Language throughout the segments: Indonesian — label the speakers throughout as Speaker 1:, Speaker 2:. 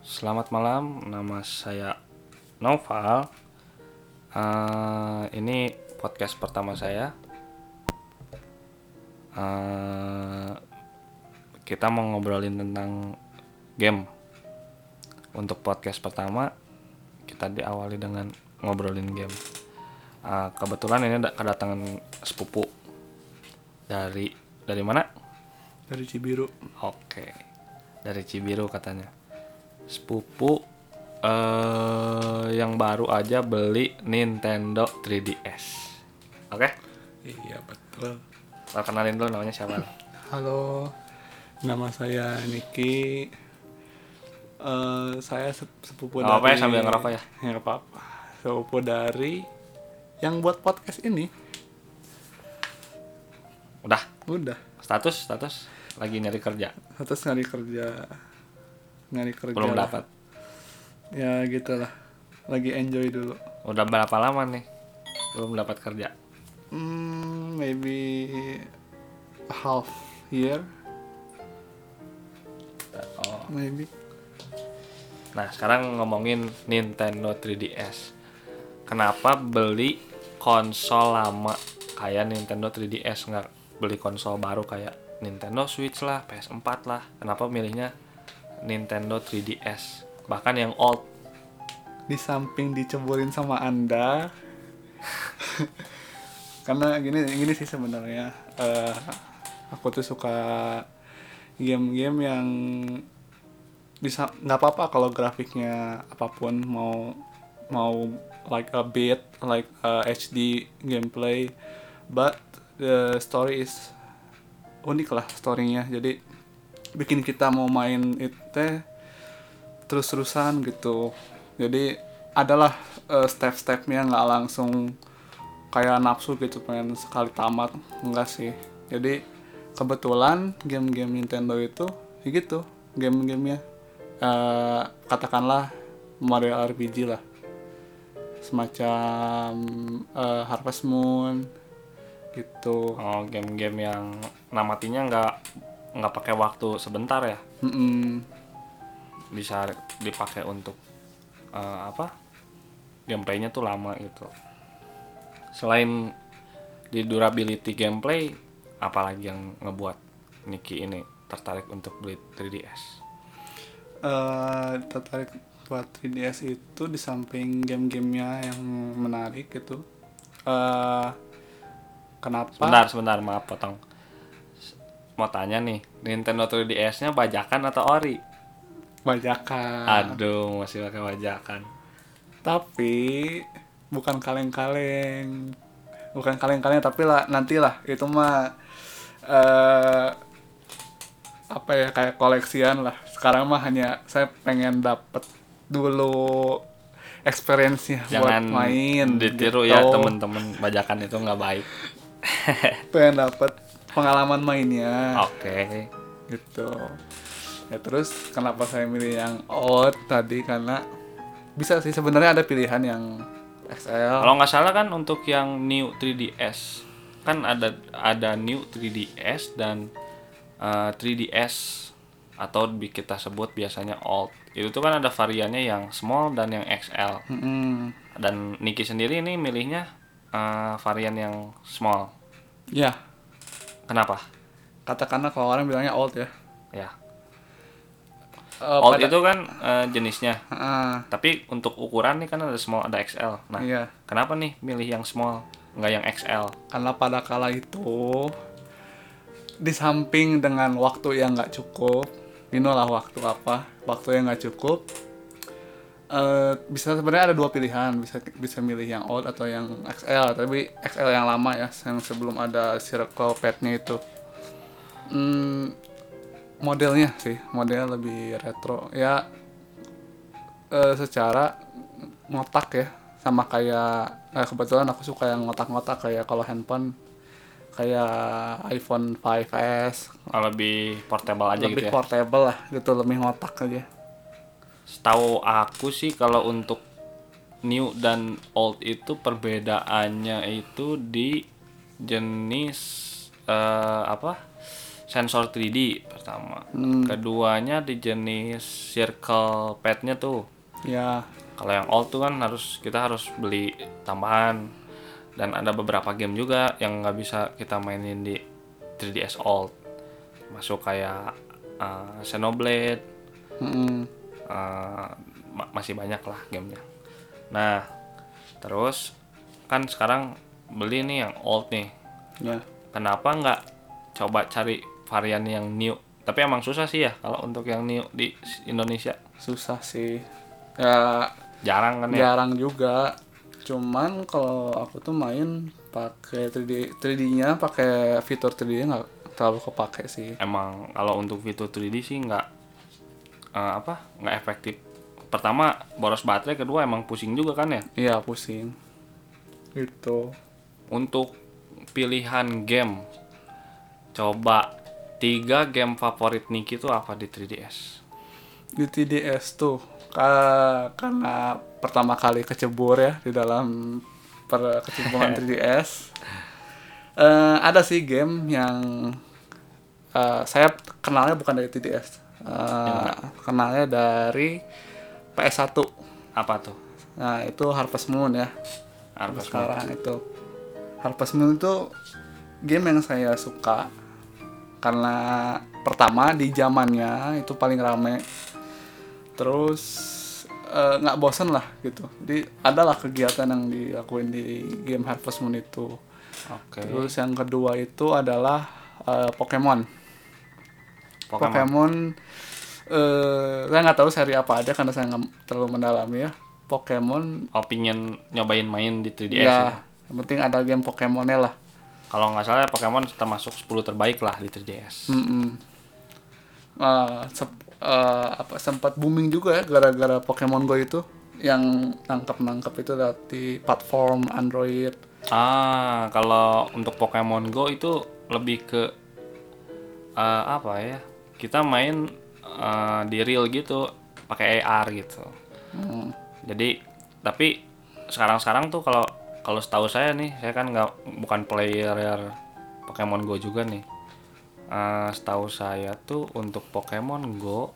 Speaker 1: Selamat malam, nama saya Noval. Eh, ini podcast pertama saya. Eh, kita mau ngobrolin tentang game. Untuk podcast pertama, kita diawali dengan ngobrolin game. Eh, kebetulan ini ada kedatangan sepupu dari dari mana?
Speaker 2: dari Cibiru
Speaker 1: Oke. Dari Cibiru katanya. Sepupu eh yang baru aja beli Nintendo 3DS. Oke.
Speaker 2: iya betul
Speaker 1: Perkenalin dulu namanya siapa?
Speaker 2: halo nama saya Niki Eh, saya sep- sepupu
Speaker 1: Nggak apa-apa
Speaker 2: dari
Speaker 1: ya, sambil ngerokok ya?
Speaker 2: Nggak apa-apa sepupu dari yang buat podcast ini
Speaker 1: Udah.
Speaker 2: udah
Speaker 1: Status status lagi nyari kerja.
Speaker 2: terus nyari kerja nyari kerja
Speaker 1: Belum
Speaker 2: lah.
Speaker 1: dapat.
Speaker 2: ya gitulah lagi enjoy dulu
Speaker 1: Udah berapa lama nih? Belum dapat kerja.
Speaker 2: hmm, maybe half year
Speaker 1: Oh.
Speaker 2: maybe
Speaker 1: Nah, sekarang ngomongin Nintendo 3DS. Kenapa beli konsol lama kayak Nintendo 3DS nggak beli konsol baru kayak Nintendo Switch lah, PS4 lah. Kenapa milihnya Nintendo 3DS? Bahkan yang old.
Speaker 2: di samping diceburin sama anda karena gini gini sih sebenarnya eh, aku tuh suka game-game yang bisa nggak apa-apa kalau grafiknya apapun mau mau like a bit like a HD gameplay but the story is unik lah storynya jadi bikin kita mau main itu teh terus-terusan gitu jadi adalah eh, step-stepnya nggak langsung kayak nafsu gitu pengen sekali tamat enggak sih jadi kebetulan game-game Nintendo itu ya gitu game-gamenya Eh, katakanlah Mario RPG lah semacam eh, Harvest Moon gitu
Speaker 1: Oh, game-game yang namatinya nggak nggak pakai waktu sebentar ya.
Speaker 2: Mm-mm.
Speaker 1: Bisa dipakai untuk eh, apa? Gameplaynya tuh lama gitu. Selain di durability gameplay, apalagi yang ngebuat Niki ini tertarik untuk beli 3DS.
Speaker 2: eh tertarik buat 3DS itu di samping game-gamenya yang menarik gitu. eh kenapa?
Speaker 1: Sebentar, sebentar, maaf potong. S- Mau tanya nih, Nintendo 3DS-nya bajakan atau ori?
Speaker 2: Bajakan.
Speaker 1: Aduh, masih pakai bajakan.
Speaker 2: Tapi bukan kaleng-kaleng. Bukan kaleng-kaleng tapi lah nantilah itu mah eh apa ya kayak koleksian lah. Sekarang mah hanya saya pengen dapet dulu experience-nya buat
Speaker 1: Jangan
Speaker 2: main.
Speaker 1: ditiru ya
Speaker 2: gitu.
Speaker 1: temen-temen bajakan itu nggak baik.
Speaker 2: pengen dapat pengalaman mainnya
Speaker 1: Oke.
Speaker 2: gitu ya terus kenapa saya milih yang old tadi karena bisa sih sebenarnya ada pilihan yang XL
Speaker 1: Kalau nggak salah kan untuk yang new 3DS kan ada ada new 3DS dan eh, 3DS atau bi- kita sebut biasanya old. Itu tuh kan ada variannya yang small dan yang XL.
Speaker 2: Mm-mm.
Speaker 1: Dan Niki sendiri ini milihnya eh, varian yang small.
Speaker 2: ya
Speaker 1: Kenapa?
Speaker 2: katakanlah kalau orang bilangnya old ya
Speaker 1: Ya.
Speaker 2: Eh,
Speaker 1: Old
Speaker 2: pada-
Speaker 1: itu kan eh, jenisnya.
Speaker 2: Ah,
Speaker 1: Tapi untuk ukuran nih kan ada small ada XL. Nah,
Speaker 2: iya
Speaker 1: kenapa nih milih yang small nggak yang XL?
Speaker 2: karena pada kala itu di samping dengan waktu yang nggak cukup Dino lah waktu apa waktu yang nggak cukup eh, bisa sebenarnya ada dua pilihan bisa bisa milih yang old atau yang XL tapi XL yang lama ya yang sebelum ada circle padnya itu Hmm, modelnya sih modelnya lebih retro ya eh, secara ngotak ya sama kayak eh, kebetulan aku suka yang ngotak-ngotak kayak kalau handphone kayak iPhone 5s
Speaker 1: Oh, lebih portable aja gitu ya.
Speaker 2: lebih portable lah gitu lebih ngotak aja
Speaker 1: Setahu aku sih kalau untuk new dan old itu perbedaannya itu di jenis eh, apa? sensor 3D pertama.
Speaker 2: Hmm.
Speaker 1: Keduanya di jenis circle padnya tuh.
Speaker 2: ya
Speaker 1: Kalau yang old tuh kan harus kita harus beli tambahan dan ada beberapa game juga yang nggak bisa kita mainin di 3DS old. Masuk kayak eh, Xenoblade,
Speaker 2: Mm-mm.
Speaker 1: eh, ma- masih banyak lah gamenya. Nah, terus kan sekarang beli nih yang old nih.
Speaker 2: ya
Speaker 1: Kenapa nggak coba cari varian yang new? Tapi emang susah sih ya kalau untuk yang new di Indonesia.
Speaker 2: susah sih ya
Speaker 1: Jarang kan ya?
Speaker 2: jarang juga cuman kalau aku tuh main pakai 3D 3D-nya pakai fitur 3D-nya nggak terlalu kepake sih
Speaker 1: Emang kalau untuk Vito 3D sih nggak eh, apa? nggak efektif. Pertama boros baterai, kedua emang pusing juga kan ya.
Speaker 2: iya pusing gitu
Speaker 1: Untuk pilihan game, coba tiga game favorit Niki itu apa di 3DS?
Speaker 2: di TDS tuh ka- karena pertama kali kecebur ya di dalam per kecemburuan 3DS Eh, ada sih game yang eh, saya kenalnya bukan dari 3DS Eh, kenalnya dari PS1
Speaker 1: Apa tuh?
Speaker 2: nah itu Harvest Moon ya
Speaker 1: Harvest Moon.
Speaker 2: sekarang itu Harvest Moon itu game yang saya suka karena pertama di zamannya itu paling rame terus eh, nggak bosen lah gitu jadi adalah kegiatan yang dilakuin di game Harvest Moon itu
Speaker 1: Oke.
Speaker 2: terus yang kedua itu adalah eh, Pokemon
Speaker 1: Pokemon.
Speaker 2: Pokemon, eh, saya nggak tahu seri apa aja karena saya nggak terlalu mendalami ya Pokemon
Speaker 1: Oh, pingin nyobain main di 3DS.
Speaker 2: ya
Speaker 1: ya?
Speaker 2: yang penting ada game Pokemonnya lah
Speaker 1: Kalau nggak salah ya, Pokemon termasuk 10 terbaik lah di 3DS.
Speaker 2: Mm-mm. Eh, sep- eh, apa sempat booming juga ya gara-gara Pokemon Go itu yang nangkep-nangkep itu dari platform Android.
Speaker 1: Ah, kalau untuk Pokemon Go itu lebih ke eh, apa ya? Kita main eh, di real gitu, pakai AR gitu.
Speaker 2: Hmm.
Speaker 1: Jadi tapi sekarang-sekarang tuh kalau kalau setahu saya nih, saya kan nggak bukan player Pokemon Go juga nih. Eh, setahu saya tuh untuk Pokemon Go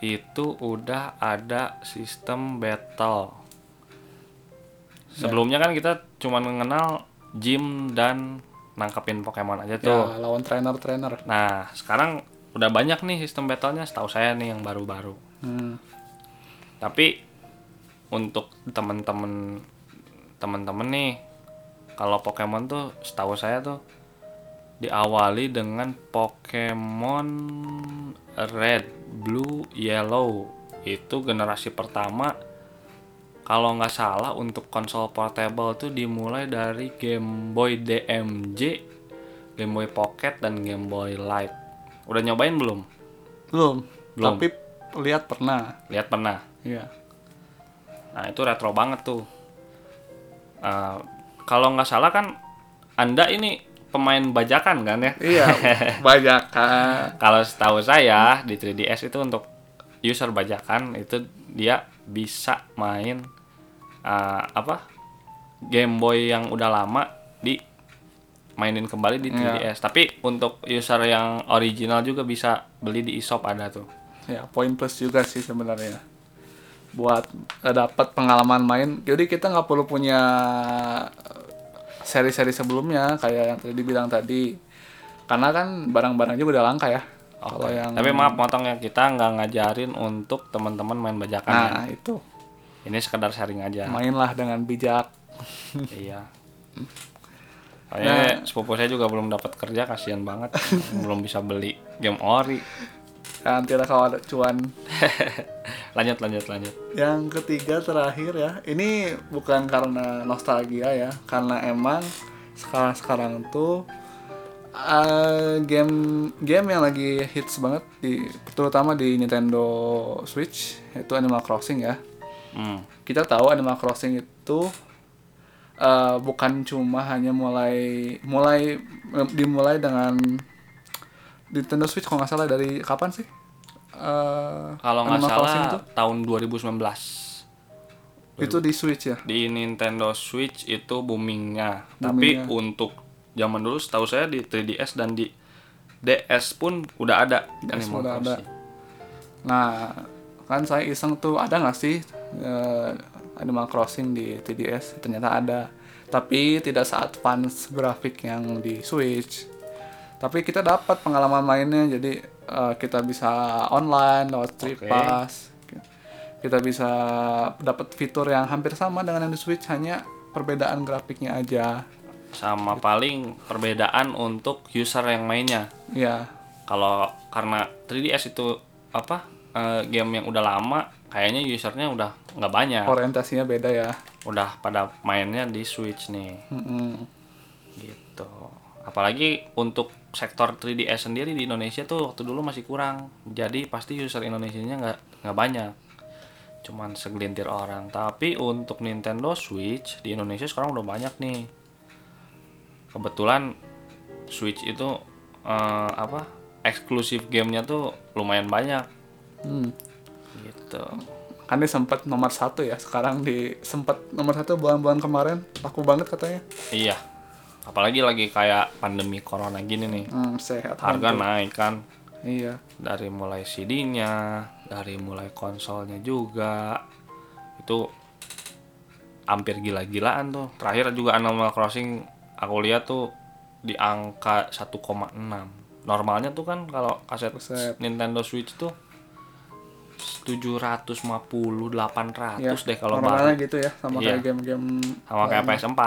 Speaker 1: itu udah ada sistem battle. Sebelumnya kan kita cuma mengenal gym dan nangkepin Pokemon aja tuh.
Speaker 2: Ya, lawan trainer-trainer.
Speaker 1: Nah, sekarang udah banyak nih sistem battle-nya setahu saya nih yang baru-baru.
Speaker 2: Hmm.
Speaker 1: Tapi untuk temen-temen temen-temen nih, kalau Pokemon tuh setahu saya tuh diawali dengan Pokemon Red, Blue, Yellow. Itu generasi pertama. Kalau nggak salah untuk konsol portable tuh dimulai dari Game Boy DMJ, Game Boy Pocket dan Game Boy Light. Udah nyobain belum?
Speaker 2: Belum.
Speaker 1: Belum.
Speaker 2: Tapi lihat pernah.
Speaker 1: Lihat pernah?
Speaker 2: Iya.
Speaker 1: Nah itu retro banget tuh. Eh, kalau nggak salah kan Anda ini pemain bajakan kan ya?
Speaker 2: Iya, banyak kan.
Speaker 1: Kalau setahu saya di 3DS itu untuk user bajakan itu dia bisa main eh, apa Game Boy yang udah lama di mainin kembali
Speaker 2: Iya.
Speaker 1: di 3DS. Tapi untuk user yang original juga bisa beli di eShop ada tuh.
Speaker 2: Ya, poin plus juga sih sebenarnya. Buat eh, dapat pengalaman main. Jadi kita nggak perlu punya eh, seri-seri sebelumnya kayak yang tadi bilang tadi. Karena kan barang-barangnya udah langka ya. Kalau yang
Speaker 1: Tapi maaf motongnya kita nggak ngajarin untuk teman-teman main bajakan ya.
Speaker 2: nah itu
Speaker 1: Ini sekedar sharing aja.
Speaker 2: mainlah dengan bijak.
Speaker 1: iya. Soalnya
Speaker 2: Nah.
Speaker 1: sepupu saya juga belum dapat kerja, kasihan banget. belum bisa beli game ori.
Speaker 2: Nanti ada kawan cuan.
Speaker 1: lanjut, lanjut, lanjut.
Speaker 2: Yang ketiga terakhir ya. Ini bukan karena nostalgia ya, karena emang sekarang-sekarang tuh eh, game game yang lagi hits banget di terutama di Nintendo Switch itu Animal Crossing ya.
Speaker 1: Hmm.
Speaker 2: kita tahu Animal Crossing itu eh, bukan cuma hanya mulai mulai eh, dimulai dengan Nintendo Switch kalau nggak salah dari kapan sih? Eh,
Speaker 1: Kalau nggak
Speaker 2: Animal Crossing
Speaker 1: salah tahun 2019
Speaker 2: itu di Switch ya.
Speaker 1: di Nintendo Switch itu boomingnya.
Speaker 2: Boomingnya.
Speaker 1: Tapi untuk zaman dulu setahu saya di 3DS dan di DS pun udah ada
Speaker 2: DS
Speaker 1: Animal
Speaker 2: udah ada.
Speaker 1: Crossing.
Speaker 2: Nah, kan saya iseng tuh ada nggak sih eh, Animal Crossing di 3DS? Ternyata ada. Tapi tidak se-advance grafik yang di Switch. Tapi kita dapat pengalaman mainnya, jadi eh, kita bisa online lewat Trip
Speaker 1: Oke.
Speaker 2: Pass. Kita bisa dapat fitur yang hampir sama dengan yang di Switch, hanya perbedaan grafiknya aja.
Speaker 1: Sama paling perbedaan untuk user yang mainnya.
Speaker 2: Ya,
Speaker 1: Kalau karena 3DS itu apa eh, game yang udah lama, kayaknya usernya udah nggak banyak.
Speaker 2: orientasinya beda ya.
Speaker 1: Udah pada mainnya di Switch nih.
Speaker 2: Mm-mm.
Speaker 1: gitu apalagi untuk sektor 3DS sendiri di Indonesia tuh waktu dulu masih kurang jadi pasti user Indonesianya nggak nggak banyak cuman segelintir orang tapi untuk Nintendo Switch di Indonesia sekarang udah banyak nih kebetulan Switch itu eh, apa eksklusif gamenya tuh lumayan banyak
Speaker 2: Hmm.
Speaker 1: gitu
Speaker 2: kan dia sempat nomor satu ya sekarang di sempat nomor satu bulan-bulan kemarin laku banget katanya
Speaker 1: iya apalagi lagi kayak pandemi corona gini nih
Speaker 2: hmm, sehat
Speaker 1: harga naik kan
Speaker 2: iya
Speaker 1: dari mulai CD-nya, dari mulai konsolnya juga. Itu hampir gila-gilaan tuh. Terakhir juga Animal Crossing aku lihat tuh di angka 1,6. Normalnya tuh kan kalau kaset
Speaker 2: Kaset.
Speaker 1: Nintendo Switch tuh 750 800
Speaker 2: ya
Speaker 1: deh kalau
Speaker 2: normalnya
Speaker 1: baru.
Speaker 2: gitu ya sama
Speaker 1: Iya.
Speaker 2: kayak game-game
Speaker 1: Sama kayak PS4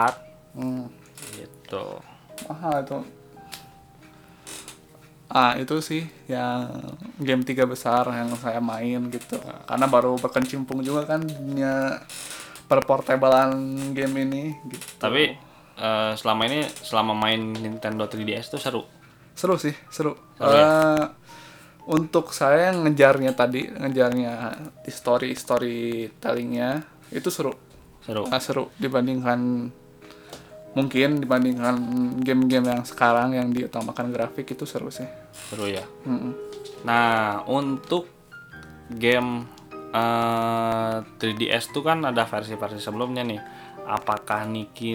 Speaker 2: hmm,
Speaker 1: gitu.
Speaker 2: mahal itu ah itu sih yang game tiga besar yang saya main gitu karena baru berkecimpung juga kan dunia perportabelan game ini gitu
Speaker 1: Tapi eh, selama ini selama main Nintendo 3DS tuh seru.
Speaker 2: seru sih seru
Speaker 1: Seru
Speaker 2: Eh, untuk saya yang ngejarnya tadi ngejarnya di story storytellingnya itu seru
Speaker 1: Seru.
Speaker 2: Eh, seru dibandingkan mungkin dibandingkan game-game yang sekarang yang diutamakan grafik itu seru sih
Speaker 1: Seru ya.
Speaker 2: Mm-mm.
Speaker 1: Nah, untuk game eh, 3DS tuh kan ada versi-versi sebelumnya nih. Apakah Niki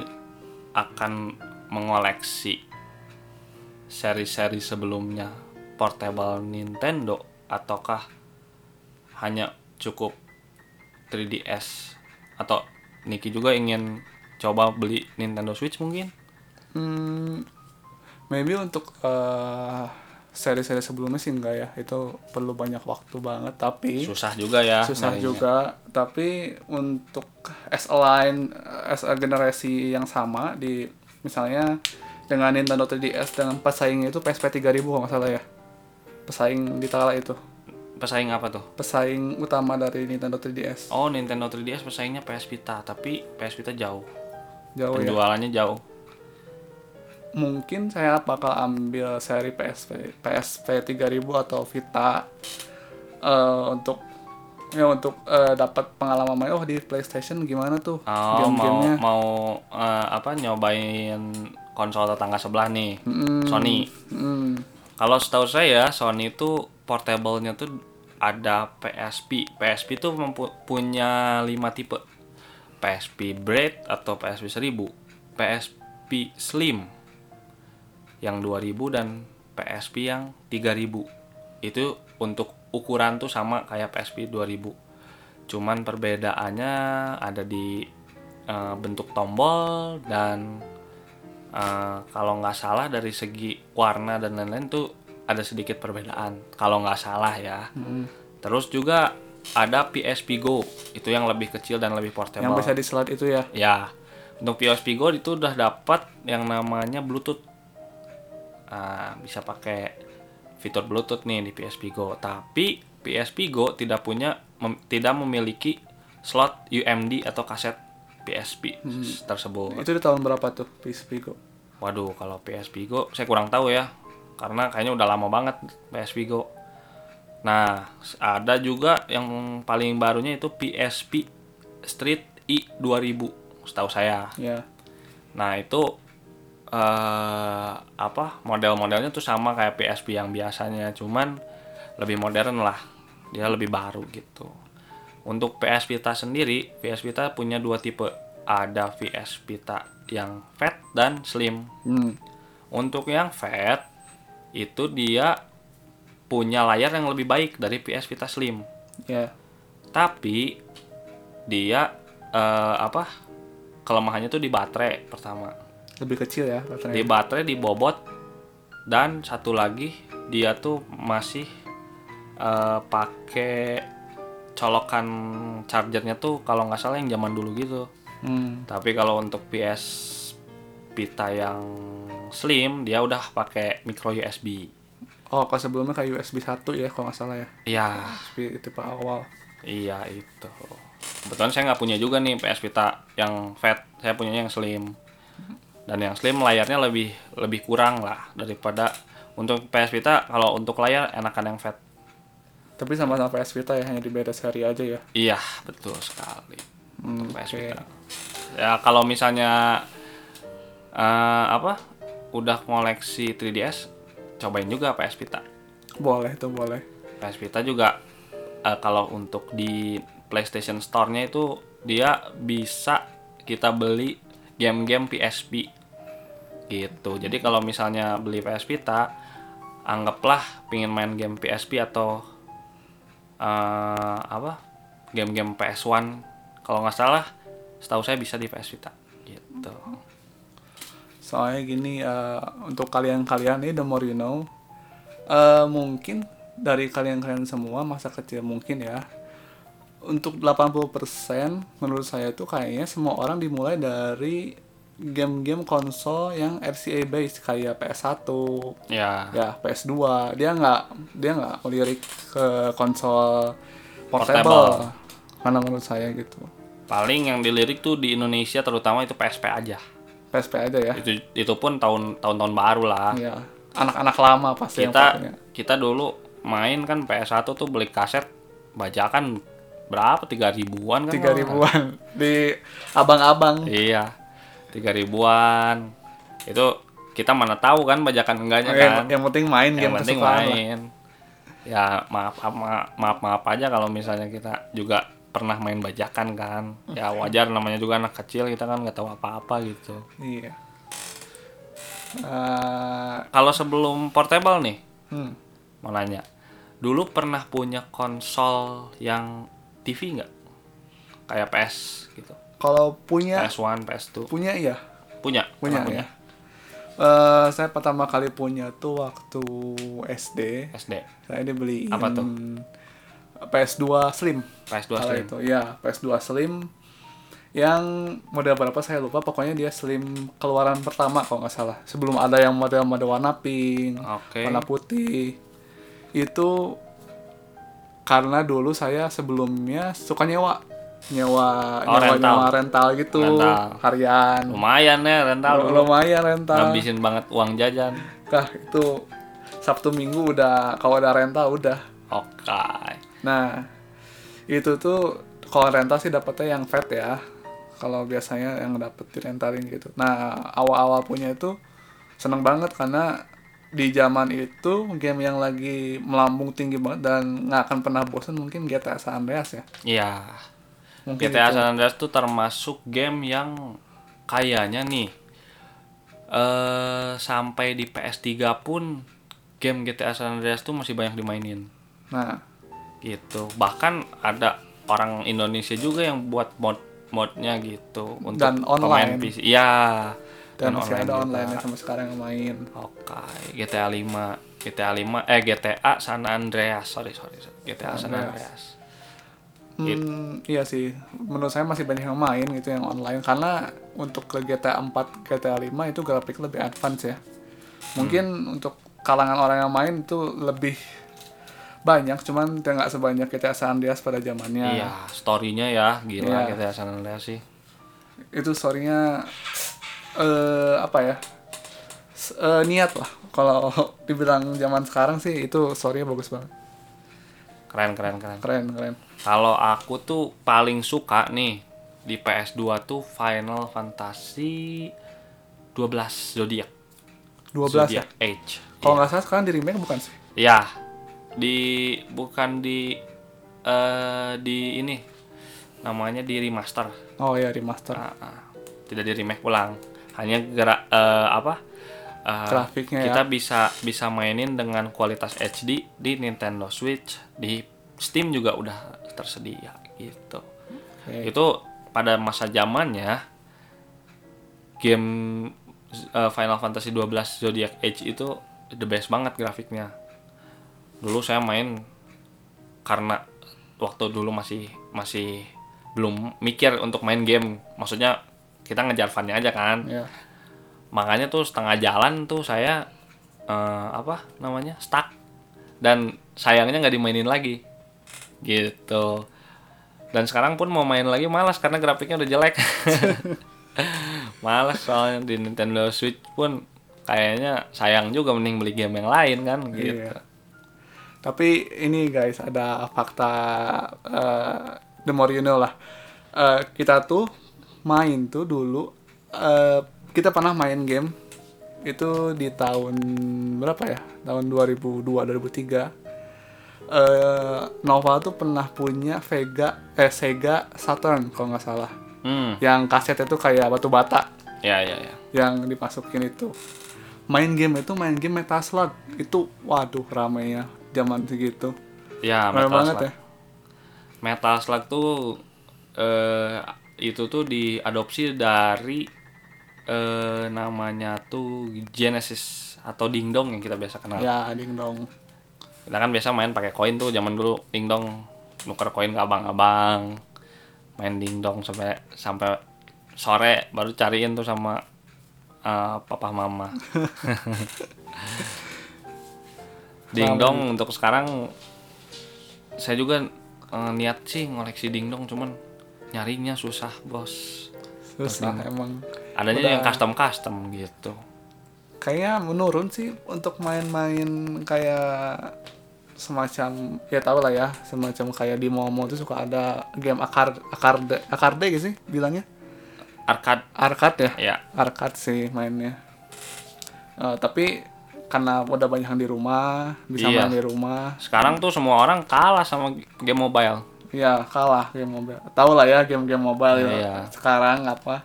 Speaker 1: akan mengoleksi seri-seri sebelumnya portable Nintendo ataukah hanya cukup 3DS atau Niki juga ingin coba beli Nintendo Switch mungkin?
Speaker 2: Hmm, maybe untuk eh, seri-seri sebelumnya sih enggak ya itu perlu banyak waktu banget tapi
Speaker 1: Susah juga ya.
Speaker 2: Iya. susah
Speaker 1: nyarinya.
Speaker 2: juga tapi untuk as a line as a generasi yang sama di misalnya dengan Nintendo 3DS dengan pesaingnya itu PSP 3000 kalau nggak salah ya pesaing di kala itu
Speaker 1: Pesaing apa tuh?
Speaker 2: pesaing utama dari Nintendo 3DS
Speaker 1: Oh, Nintendo 3DS pesaingnya PS Vita, tapi PS Vita jauh.
Speaker 2: jauh ya
Speaker 1: Penjualannya jauh.
Speaker 2: mungkin saya bakal ambil seri PSP PSP 3000 atau Vita eh, untuk ya untuk eh, dapat pengalaman main oh di PlayStation gimana tuh
Speaker 1: Oh, mau mau eh, apa nyobain konsol tetangga sebelah nih,
Speaker 2: Mm,
Speaker 1: Sony.
Speaker 2: mm.
Speaker 1: Kalau setahu saya Sony itu portable-nya tuh ada PSP. PSP itu punya 5 tipe. PSP Braid atau PSP 1000, PSP Slim yang 2000 dan PSP yang 3000. Itu untuk ukuran tuh sama kayak PSP 2000. Cuman perbedaannya ada di eh, bentuk tombol dan eh, kalau nggak salah dari segi warna dan lain-lain tuh ada sedikit perbedaan. Kalau nggak salah ya.
Speaker 2: Hmm.
Speaker 1: Terus juga ada PSP Go itu yang lebih kecil dan lebih portable.
Speaker 2: yang bisa di slide itu ya
Speaker 1: Ya, untuk PSP Go itu udah dapat yang namanya Bluetooth. Ah, bisa pakai fitur Bluetooth nih di PSP Go. Tapi PSP Go tidak punya mem- tidak memiliki slot UMD atau kaset PSP tersebut.
Speaker 2: Oh, itu di tahun berapa tuh PSP Go
Speaker 1: Waduh, kalau PSP Go saya kurang tahu ya. Karena kayaknya udah lama banget PSP Go. Nah, ada juga yang paling barunya itu PSP Street I 2000 setahu saya.
Speaker 2: ya
Speaker 1: Nah itu eh apa model-modelnya tuh sama kayak PSP yang biasanya, cuman lebih modern lah, dia lebih baru gitu. Untuk PS Vita sendiri, PS Vita punya dua tipe, ada PS Vita yang fat dan slim.
Speaker 2: hmm.
Speaker 1: Untuk yang fat itu dia punya layar yang lebih baik dari PS Vita Slim
Speaker 2: ya
Speaker 1: tapi dia eh, apa kelemahannya tuh di baterai pertama
Speaker 2: lebih kecil ya
Speaker 1: di
Speaker 2: baterainya
Speaker 1: baterai dibobot dan satu lagi dia tuh masih eh, pakai colokan chargernya tuh kalau nggak salah yang zaman dulu gitu
Speaker 2: hmm.
Speaker 1: tapi kalau untuk PS Vita yang slim dia udah pakai micro USB
Speaker 2: oh kalau sebelumnya kayak USB 1 ya kalau nggak salah ya
Speaker 1: ya
Speaker 2: USB tipe awal
Speaker 1: iya itu kebetulan saya nggak punya juga nih PS Vita yang fat saya punyanya yang slim dan yang slim layarnya lebih lebih kurang lah daripada untuk PS Vita kalau untuk layar enakan yang fat
Speaker 2: tapi sama-sama PS Vita ya hanya di beda seri aja ya
Speaker 1: iya betul sekali
Speaker 2: hmm,
Speaker 1: PS
Speaker 2: oke.
Speaker 1: Vita. Ya kalau misalnya eh, apa udah koleksi 3DS, cobain juga PS Vita.
Speaker 2: boleh tuh boleh
Speaker 1: PS Vita juga eh, kalau untuk di PlayStation Store-nya itu dia bisa kita beli game-game PSP gitu. Jadi kalau misalnya beli PS Vita, anggaplah pingin main game PSP atau eh, apa game-game PS1 kalau nggak salah, setahu saya bisa di PS Vita gitu.
Speaker 2: soalnya gini eh, untuk kalian-kalian nih the more you know eh, mungkin dari kalian-kalian semua masa kecil mungkin ya untuk 80% menurut saya itu kayaknya semua orang dimulai dari game-game konsol yang RCA based kayak PS1
Speaker 1: Ya,
Speaker 2: ya PS2 dia nggak dia nggak melirik ke konsol portable,
Speaker 1: Portable.
Speaker 2: mana menurut saya gitu
Speaker 1: paling yang dilirik tuh di Indonesia terutama itu PSP aja.
Speaker 2: PSP aja ya
Speaker 1: Itu itu pun tahun tahun-tahun baru lah.
Speaker 2: ya anak-anak lama pasti
Speaker 1: Iya.
Speaker 2: yang ya.
Speaker 1: kita
Speaker 2: pakainya.
Speaker 1: kita dulu main kan PS1 tuh beli kaset bajakan berapa tiga ribuan kan kalau
Speaker 2: tiga
Speaker 1: nggak salah.
Speaker 2: ribuan di abang-abang
Speaker 1: iya tiga ribuan itu kita mana tahu kan bajakan enggaknya
Speaker 2: yang,
Speaker 1: kan
Speaker 2: yang penting main
Speaker 1: yang
Speaker 2: game
Speaker 1: penting
Speaker 2: kesukaan lah.
Speaker 1: main ya maaf maaf maaf maaf aja kalau misalnya kita juga pernah main bajakan kan ya wajar namanya juga anak kecil kita kan nggak tahu apa-apa gitu
Speaker 2: iya Eh,
Speaker 1: kalau sebelum portable nih
Speaker 2: hmm.
Speaker 1: mau nanya dulu pernah punya konsol yang TV nggak kayak PS gitu
Speaker 2: kalau punya
Speaker 1: PS1 PS2
Speaker 2: punya iya
Speaker 1: punya
Speaker 2: Ya. punya
Speaker 1: Pernah
Speaker 2: ya Eh, saya pertama kali punya tuh waktu SD
Speaker 1: SD
Speaker 2: saya dibeliin
Speaker 1: Apa tuh?
Speaker 2: PS2 Slim
Speaker 1: PS2
Speaker 2: Kalau
Speaker 1: Slim
Speaker 2: itu ya PS2 Slim yang model berapa saya lupa pokoknya dia Slim keluaran pertama kalau nggak salah sebelum ada yang model-model warna pink
Speaker 1: oke
Speaker 2: warna putih itu karena dulu saya sebelumnya suka nyewa nyewa
Speaker 1: Oh,
Speaker 2: nyewa,
Speaker 1: rental.
Speaker 2: nyewa rental gitu
Speaker 1: Rental.
Speaker 2: harian
Speaker 1: lumayan ya rental
Speaker 2: Lu-
Speaker 1: dulu
Speaker 2: lumayan rental
Speaker 1: ngabisin banget uang jajan
Speaker 2: Nah, itu Sabtu Minggu udah kalau ada rental udah
Speaker 1: oke
Speaker 2: nah itu tuh kalau rental sih dapetnya yang fat ya kalau biasanya yang dapet di rentalin gitu nah awal-awal punya itu seneng banget karena di zaman itu game yang lagi melambung tinggi banget dan nggak akan pernah bosan mungkin GTA San Andreas ya
Speaker 1: iya
Speaker 2: mungkin
Speaker 1: GTA
Speaker 2: itu.
Speaker 1: San Andreas tuh termasuk game yang kayaknya nih eh sampai di PS3 pun game GTA San Andreas tuh masih banyak dimainin
Speaker 2: nah
Speaker 1: gitu bahkan ada orang Indonesia juga yang buat mod modnya gitu untuk
Speaker 2: Dan online.
Speaker 1: pemain PC ya
Speaker 2: dan, masih ada
Speaker 1: juga.
Speaker 2: online ya. sampai sekarang yang main
Speaker 1: oke GTA 5 GTA 5 eh GTA San Andreas sorry sorry sorry. GTA San Andreas
Speaker 2: Hmm, iya sih. Menurut saya masih banyak yang main gitu yang online karena untuk ke GTA 4, GTA 5 itu grafik lebih advance ya. Mungkin untuk kalangan orang yang main itu lebih banyak, cuman dia nggak sebanyak GTA San Andreas pada zamannya.
Speaker 1: iya storynya ya gila
Speaker 2: Iya.
Speaker 1: GTA San Andreas sih
Speaker 2: Itu storynya eh apa ya? S- eh, niat lah. Kalau dibilang zaman sekarang sih itu storynya bagus banget.
Speaker 1: keren keren keren
Speaker 2: Keren, keren.
Speaker 1: kalau aku tuh paling suka nih di PS2 tuh Final Fantasy 12 Zodiac
Speaker 2: 12 ya.
Speaker 1: Zodiac Age
Speaker 2: Kalau nggak salah sekarang di remake bukan sih?
Speaker 1: Ya, di bukan di eh di ini namanya di remaster. Nah,
Speaker 2: Oh ya remaster.
Speaker 1: Ah, ah. Tidak di remake ulang. Hanya gerak eh, apa? uh,
Speaker 2: Grafiknya ya.
Speaker 1: kita bisa bisa mainin dengan kualitas HD di Nintendo Switch, di Steam juga udah tersedia gitu.
Speaker 2: Oke.
Speaker 1: Itu pada masa zamannya game uh, Final Fantasy 12 Zodiac Age itu the best banget grafiknya. Dulu saya main karena waktu dulu masih masih belum mikir untuk main game. Maksudnya kita ngejar funnya aja kan
Speaker 2: ya
Speaker 1: makanya tuh setengah jalan tuh saya eh, apa namanya stuck dan sayangnya nggak dimainin lagi gitu dan sekarang pun mau main lagi malas karena grafiknya udah jelek malas soalnya di Nintendo Switch pun kayaknya sayang juga mending beli game yang lain kan gitu
Speaker 2: Iya. Tapi ini guys ada fakta eh, the more you know lah. Eh, kita tuh main tuh dulu eh, kita pernah main game itu di tahun berapa ya? Tahun 2002 2003. Eh, Nova tuh pernah punya Vega eh Sega Saturn kalau nggak salah.
Speaker 1: hmm
Speaker 2: Yang kasetnya tuh kayak batu bata
Speaker 1: ya ya ya
Speaker 2: yang dimasukin itu main game itu main game meta slot itu waduh ramenya zaman segitu
Speaker 1: ya
Speaker 2: rame
Speaker 1: Metal
Speaker 2: banget
Speaker 1: Slug
Speaker 2: ya
Speaker 1: Metal Slug tuh eh, itu tuh diadopsi dari eh, namanya tuh Genesis atau dingdong yang kita biasa kenal.
Speaker 2: ya ding dong
Speaker 1: Kita kan biasa main pakai koin tuh zaman dulu dingdong nuker koin ke abang-abang. Main dingdong sampai sampai sore baru cariin tuh sama eh, papa mama. dingdong untuk sekarang saya juga eh, niat sih ngoleksi dingdong cuman nyarinya susah bos
Speaker 2: susah ya, emang
Speaker 1: adanya
Speaker 2: Udah.
Speaker 1: yang custom custom gitu
Speaker 2: kayaknya menurun sih untuk main-main kayak semacam ya tau lah ya semacam kayak di Momo tuh suka ada game akar akarde akarde gitu sih bilangnya
Speaker 1: arcade
Speaker 2: arcade ya
Speaker 1: ya
Speaker 2: arcade sih mainnya. Eh, tapi karena udah banyak yang di rumah, bisa
Speaker 1: Iya.
Speaker 2: main di rumah,
Speaker 1: sekarang tuh semua orang kalah sama game mobile
Speaker 2: ya kalah game mobile. Tahu lah ya game-game mobile ya.
Speaker 1: Iya.
Speaker 2: sekarang apa?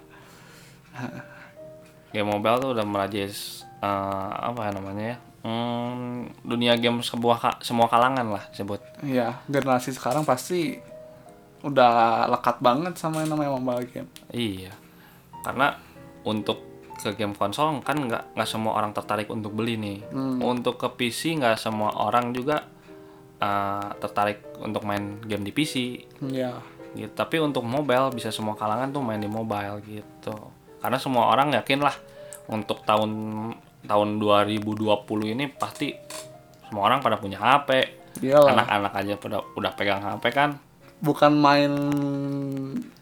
Speaker 1: game mobile tuh udah merajai s- eh, apa ya namanya ya hmm, dunia game sebuah ka- semua kalangan lah sebut
Speaker 2: Ya generasi sekarang pasti udah lekat banget sama yang namanya mobile game.
Speaker 1: iya karena untuk ke game konsol kan nggak nggak semua orang tertarik untuk beli nih untuk ke PC nggak semua orang juga eh, tertarik untuk main game di PC
Speaker 2: Ya
Speaker 1: gitu. Tapi untuk mobile bisa semua kalangan tuh main di mobile gitu. Karena semua orang yakin lah untuk tahun tahun 2020 ini pasti semua orang pada punya HP.
Speaker 2: iyalah.
Speaker 1: Anak-anak aja pada udah pegang HP kan.
Speaker 2: Iya Bukan main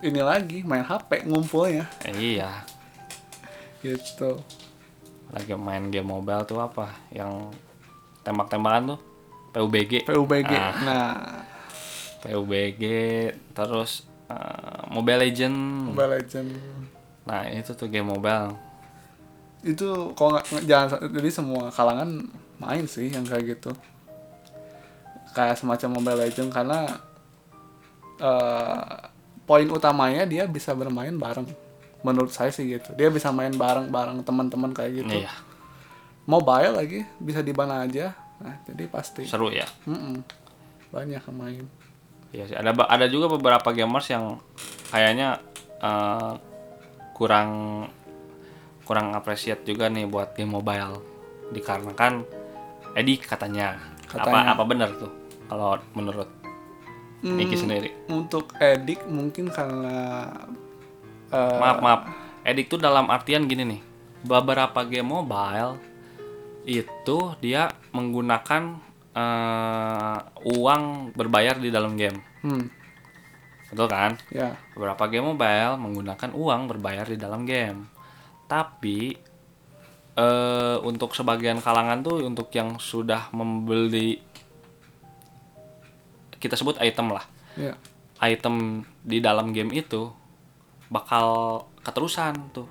Speaker 2: ini lagi, main HP ngumpulnya
Speaker 1: Eh, iya.
Speaker 2: gitu.
Speaker 1: Lagi main game mobile tuh apa? Yang tembak-tembakan tuh PUBG.
Speaker 2: PUBG.
Speaker 1: Ah.
Speaker 2: Nah,
Speaker 1: PUBG terus eh, Mobile Legend.
Speaker 2: Mobile Legends
Speaker 1: Nah, itu tuh game mobile.
Speaker 2: itu kalau nggak nggak- jangan jadi semua kalangan main sih yang kayak gitu kayak semacam Mobile Legends karena eh, poin utamanya dia bisa bermain bareng menurut saya sih gitu dia bisa main bareng bareng teman-teman kayak gitu
Speaker 1: Iya,
Speaker 2: mobile lagi bisa di mana aja nah jadi pasti
Speaker 1: seru ya.
Speaker 2: Mm-mm. banyak yang main
Speaker 1: Iya sih. Ada ba- ada juga beberapa gamers yang kayaknya eh, kurang kurang apresiat juga nih buat game mobile dikarenakan edik katanya.
Speaker 2: Katanya. Hmm,
Speaker 1: Apa apa benar tuh kalau menurut Niki sendiri?
Speaker 2: untuk edik mungkin karena eh,
Speaker 1: Maaf maaf. Edik tuh dalam artian gini nih. Beberapa game mobile itu dia menggunakan eh, uang berbayar di dalam game.
Speaker 2: hmm,
Speaker 1: Betul kan?
Speaker 2: ya
Speaker 1: Beberapa game mobile menggunakan uang berbayar di dalam game. Tapi eh, untuk sebagian kalangan tuh untuk yang sudah membeli kita sebut item lah.
Speaker 2: ya
Speaker 1: Item di dalam game itu bakal keterusan tuh.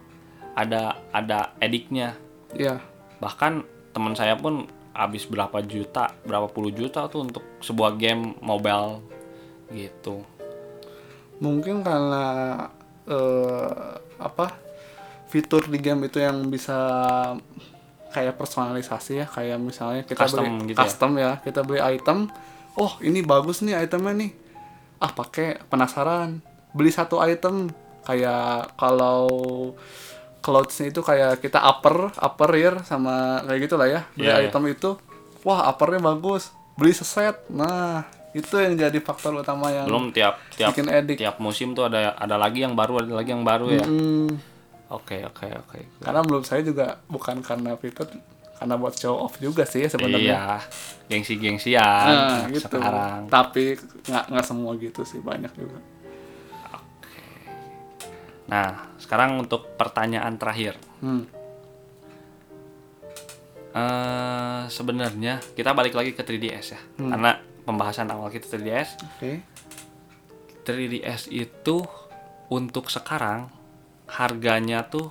Speaker 1: Ada ada ediknya.
Speaker 2: ya
Speaker 1: Bahkan teman saya pun habis berapa juta, berapa puluh juta tuh untuk sebuah game mobile gitu.
Speaker 2: mungkin karena eh, apa fitur di game itu yang bisa kayak personalisasi ya kayak misalnya kita
Speaker 1: Custom
Speaker 2: beli
Speaker 1: gitu ya?
Speaker 2: custom ya. kita beli item oh ini bagus nih itemnya nih ah pakai penasaran beli satu item kayak kalau clouds-nya itu kayak kita upper upper rear sama kayak gitulah ya beli
Speaker 1: Iya, iya.
Speaker 2: item itu wah uppernya bagus beli seset nah itu yang jadi faktor utama yang
Speaker 1: belum tiap tiap
Speaker 2: Kan bikin edit
Speaker 1: tiap musim tuh ada ada lagi yang baru ada lagi yang baru ya
Speaker 2: Mm.
Speaker 1: oke oke oke
Speaker 2: karena menurut saya juga bukan karena fitur karena buat show off juga sih
Speaker 1: iya
Speaker 2: sebenarnya
Speaker 1: gengsi gengsian
Speaker 2: Nah, gitu
Speaker 1: sekarang
Speaker 2: tapi nggak nggak semua gitu sih banyak juga
Speaker 1: nah sekarang untuk pertanyaan terakhir
Speaker 2: hmm.
Speaker 1: eh sebenarnya kita balik lagi ke 3ds ya
Speaker 2: Hmm.
Speaker 1: karena pembahasan awal kita 3ds
Speaker 2: oke
Speaker 1: 3DS itu untuk sekarang harganya tuh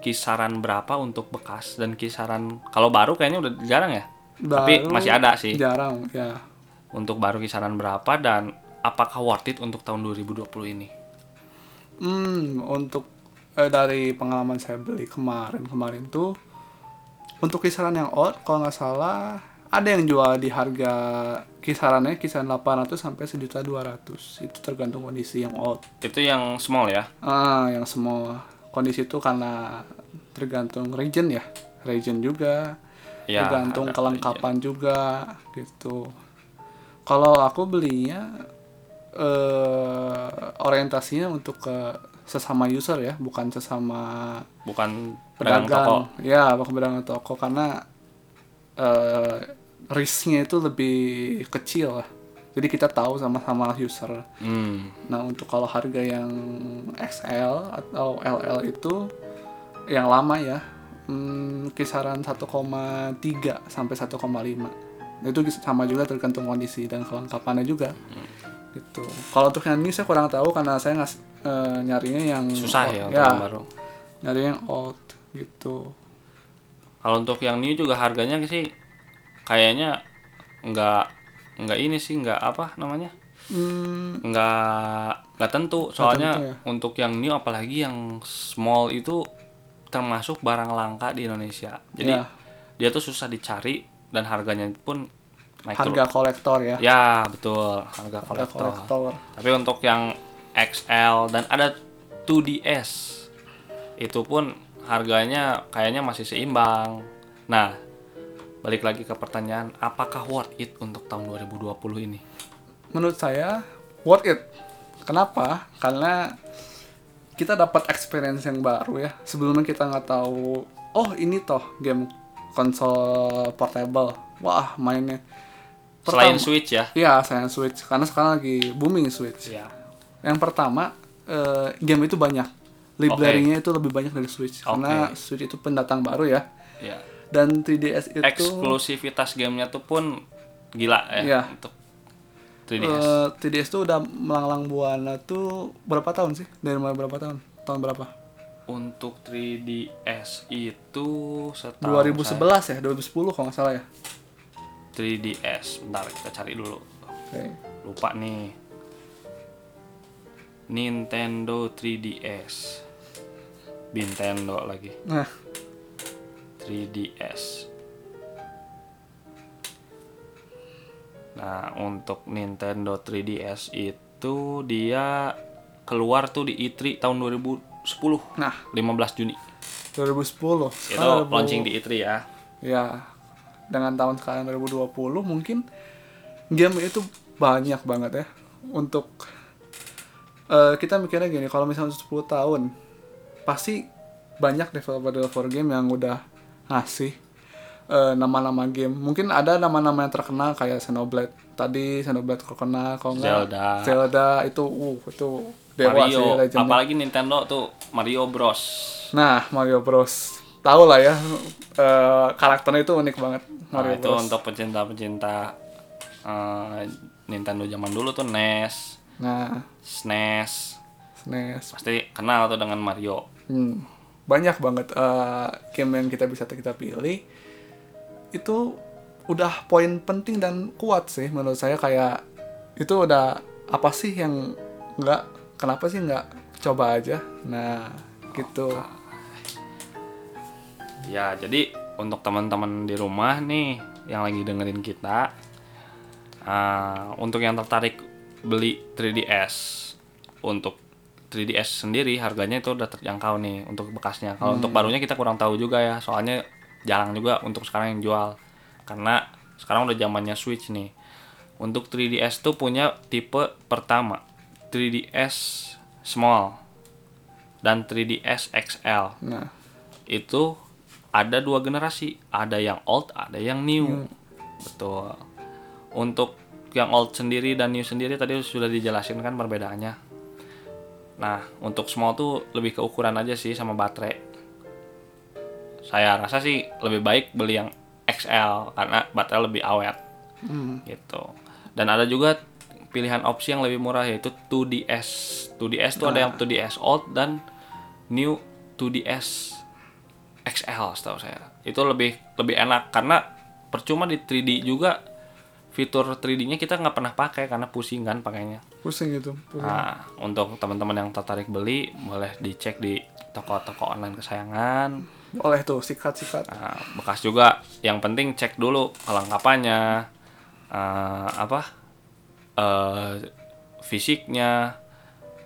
Speaker 1: kisaran berapa untuk bekas dan kisaran kalau baru kayaknya udah jarang ya. Tapi
Speaker 2: Baru
Speaker 1: masih ada sih.
Speaker 2: jarang ya
Speaker 1: Untuk baru kisaran berapa dan apakah worth it untuk tahun 2020 ini?
Speaker 2: hmm untuk eh, dari pengalaman saya beli kemarin kemarin tuh untuk kisaran yang old kalau nggak salah ada yang jual di harga kisarannya kisaran 800 sampai 1.200 itu tergantung kondisi yang old
Speaker 1: Itu yang small ya.
Speaker 2: Ah, yang semua kondisi itu karena tergantung region ya, region juga,
Speaker 1: Ya,
Speaker 2: tergantung
Speaker 1: ada
Speaker 2: kelengkapan juga gitu. Kalau aku belinya eh orientasinya untuk ke sesama user ya, bukan sesama
Speaker 1: Bukan pedagang toko.
Speaker 2: pedagang. Ya, bukan pedagang toko karena eh risknya itu lebih kecil lah. Jadi kita tahu sama-sama user.
Speaker 1: Hmm.
Speaker 2: Nah, untuk kalau harga yang XL atau LL itu yang lama ya, hmm, kisaran 1,3 sampai 1,5. Nah, Itu kis- sama juga tergantung kondisi dan kelengkapannya juga.
Speaker 1: Hmm.
Speaker 2: Gitu. Kalau untuk yang ini saya kurang tahu karena saya ngas eh, nyarinya yang
Speaker 1: Susah
Speaker 2: old-
Speaker 1: ya untuk
Speaker 2: ya,
Speaker 1: yang baru.
Speaker 2: nyarinya yang old gitu.
Speaker 1: Kalau untuk yang new juga harganya sih kayaknya nggak nggak ini sih nggak apa namanya
Speaker 2: Hmm,
Speaker 1: nggak nggak tentu soalnya
Speaker 2: tentu ya.
Speaker 1: untuk yang new apalagi yang small itu termasuk barang langka di Indonesia jadi
Speaker 2: ya,
Speaker 1: dia tuh susah dicari dan harganya pun naik
Speaker 2: harga kolektor ya.
Speaker 1: turun. ya betul harga
Speaker 2: Harga
Speaker 1: kolektor
Speaker 2: kolektor.
Speaker 1: tapi untuk yang XL dan ada 2DS itu pun harganya kayaknya masih seimbang nah balik lagi ke pertanyaan apakah worth it untuk tahun 2020 ini
Speaker 2: menurut saya worth it. Kenapa? Karena kita dapat experience yang baru ya. Sebelumnya kita nggak tahu, oh ini toh game konsol portable. Wah mainnya.
Speaker 1: selain Switch ya
Speaker 2: Iya, saya Switch. Karena sekarang lagi booming Switch.
Speaker 1: ya
Speaker 2: Yang pertama, eh, game itu banyak. Library-nya itu lebih banyak dari Switch. Karena
Speaker 1: Oke.
Speaker 2: Switch itu pendatang baru ya.
Speaker 1: ya
Speaker 2: Dan 3DS itu...
Speaker 1: eksklusivitas gamenya tuh pun gila ya
Speaker 2: Iya.
Speaker 1: untuk 3DS
Speaker 2: Eh, TDS tuh udah melanglang buana tuh berapa tahun sih? Dari mulai berapa tahun? Tahun berapa?
Speaker 1: untuk 3DS itu setahu
Speaker 2: 2011
Speaker 1: saya-
Speaker 2: ya, 2010 kalau nggak salah ya.
Speaker 1: 3DS bentar kita cari dulu
Speaker 2: Oke.
Speaker 1: lupa nih Nintendo 3DS Nintendo lagi
Speaker 2: Nah,
Speaker 1: 3DS Nah untuk Nintendo 3DS itu dia keluar tuh di E3 tahun 2010
Speaker 2: nah
Speaker 1: 15 Juni
Speaker 2: 2010.
Speaker 1: itu
Speaker 2: Sekarang 2000
Speaker 1: launching di E3 ya
Speaker 2: Ya, dengan tahun sekarang 2020 mungkin game itu banyak banget ya untuk eh, kita mikirnya gini, kalau misalnya 10 tahun pasti banyak developer-developer game yang udah ngasih eh, nama-nama game. Mungkin ada nama-nama yang terkenal kayak Xenoblade. Tadi Xenoblade terkenal, kalau nggak
Speaker 1: Zelda.
Speaker 2: Zelda itu uh itu dewa
Speaker 1: Mario
Speaker 2: sih ya, legendnya.
Speaker 1: apalagi Nintendo tuh Mario Bros
Speaker 2: Nah, Mario Bros. Tahu lah ya, eh, karakternya itu unik banget
Speaker 1: Nah,
Speaker 2: Mario
Speaker 1: itu
Speaker 2: Bros.
Speaker 1: untuk pecinta-pecinta eh, Nintendo zaman dulu tuh E NES
Speaker 2: Nah,
Speaker 1: SNES
Speaker 2: SNES.
Speaker 1: E pasti kenal tuh dengan Mario
Speaker 2: Hmm, banyak banget eh, game yang kita bisa kita pilih. Itu udah poin penting dan kuat sih menurut saya kayak itu udah apa sih yang nggak kenapa sih nggak coba aja. Nah, gitu.
Speaker 1: Ya, jadi untuk teman-teman di rumah nih yang lagi dengerin kita eh, untuk yang tertarik beli 3DS untuk 3DS sendiri harganya itu udah terjangkau nih untuk bekasnya kalau untuk barunya kita kurang tahu juga ya soalnya jarang juga untuk sekarang yang jual karena sekarang udah zamannya Switch nih untuk 3DS tuh punya tipe pertama 3DS Small dan 3DS XL
Speaker 2: Nah,
Speaker 1: itu ada dua generasi, ada yang old, ada yang new. Betul. Untuk yang old sendiri dan new sendiri tadi sudah dijelasin kan perbedaannya. Nah, untuk small tuh lebih ke ukuran aja sih sama baterai. Saya rasa sih lebih baik beli yang XL karena baterai lebih awet
Speaker 2: hmm,
Speaker 1: gitu. Dan ada juga pilihan opsi yang lebih murah yaitu 2DS. 2DS tuh ada yang 2DS old dan new 2DS XL setahu saya. Itu lebih lebih enak karena percuma di 3D juga fitur 3D-nya kita nggak pernah pakai karena pusing kan pakainya.
Speaker 2: pusing gitu. itu. pusing.
Speaker 1: Nah, untuk teman-teman yang tertarik beli boleh dicek di toko-toko online kesayangan.
Speaker 2: Oleh tuh sikat-sikat.
Speaker 1: Nah, bekas juga yang penting cek dulu kelengkapannya eh, apa eh, fisiknya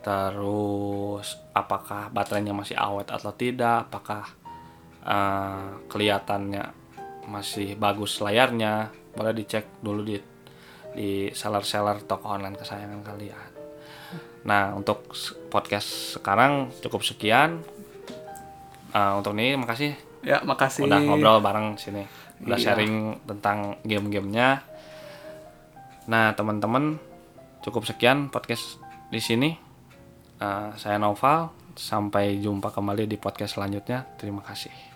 Speaker 1: terus apakah baterainya masih awet atau tidak apakah eh, kelihatannya masih bagus layarnya boleh dicek dulu di di seller-seller toko online kesayangan kalian nah untuk s- podcast sekarang cukup sekian Eh, untuk ini makasih
Speaker 2: Ya, makasih.
Speaker 1: udah ngobrol bareng sini udah
Speaker 2: Iya.
Speaker 1: sharing tentang game-gamenya nah teman-teman cukup sekian podcast di sini Eh, saya Noval sampai jumpa kembali di podcast selanjutnya terima kasih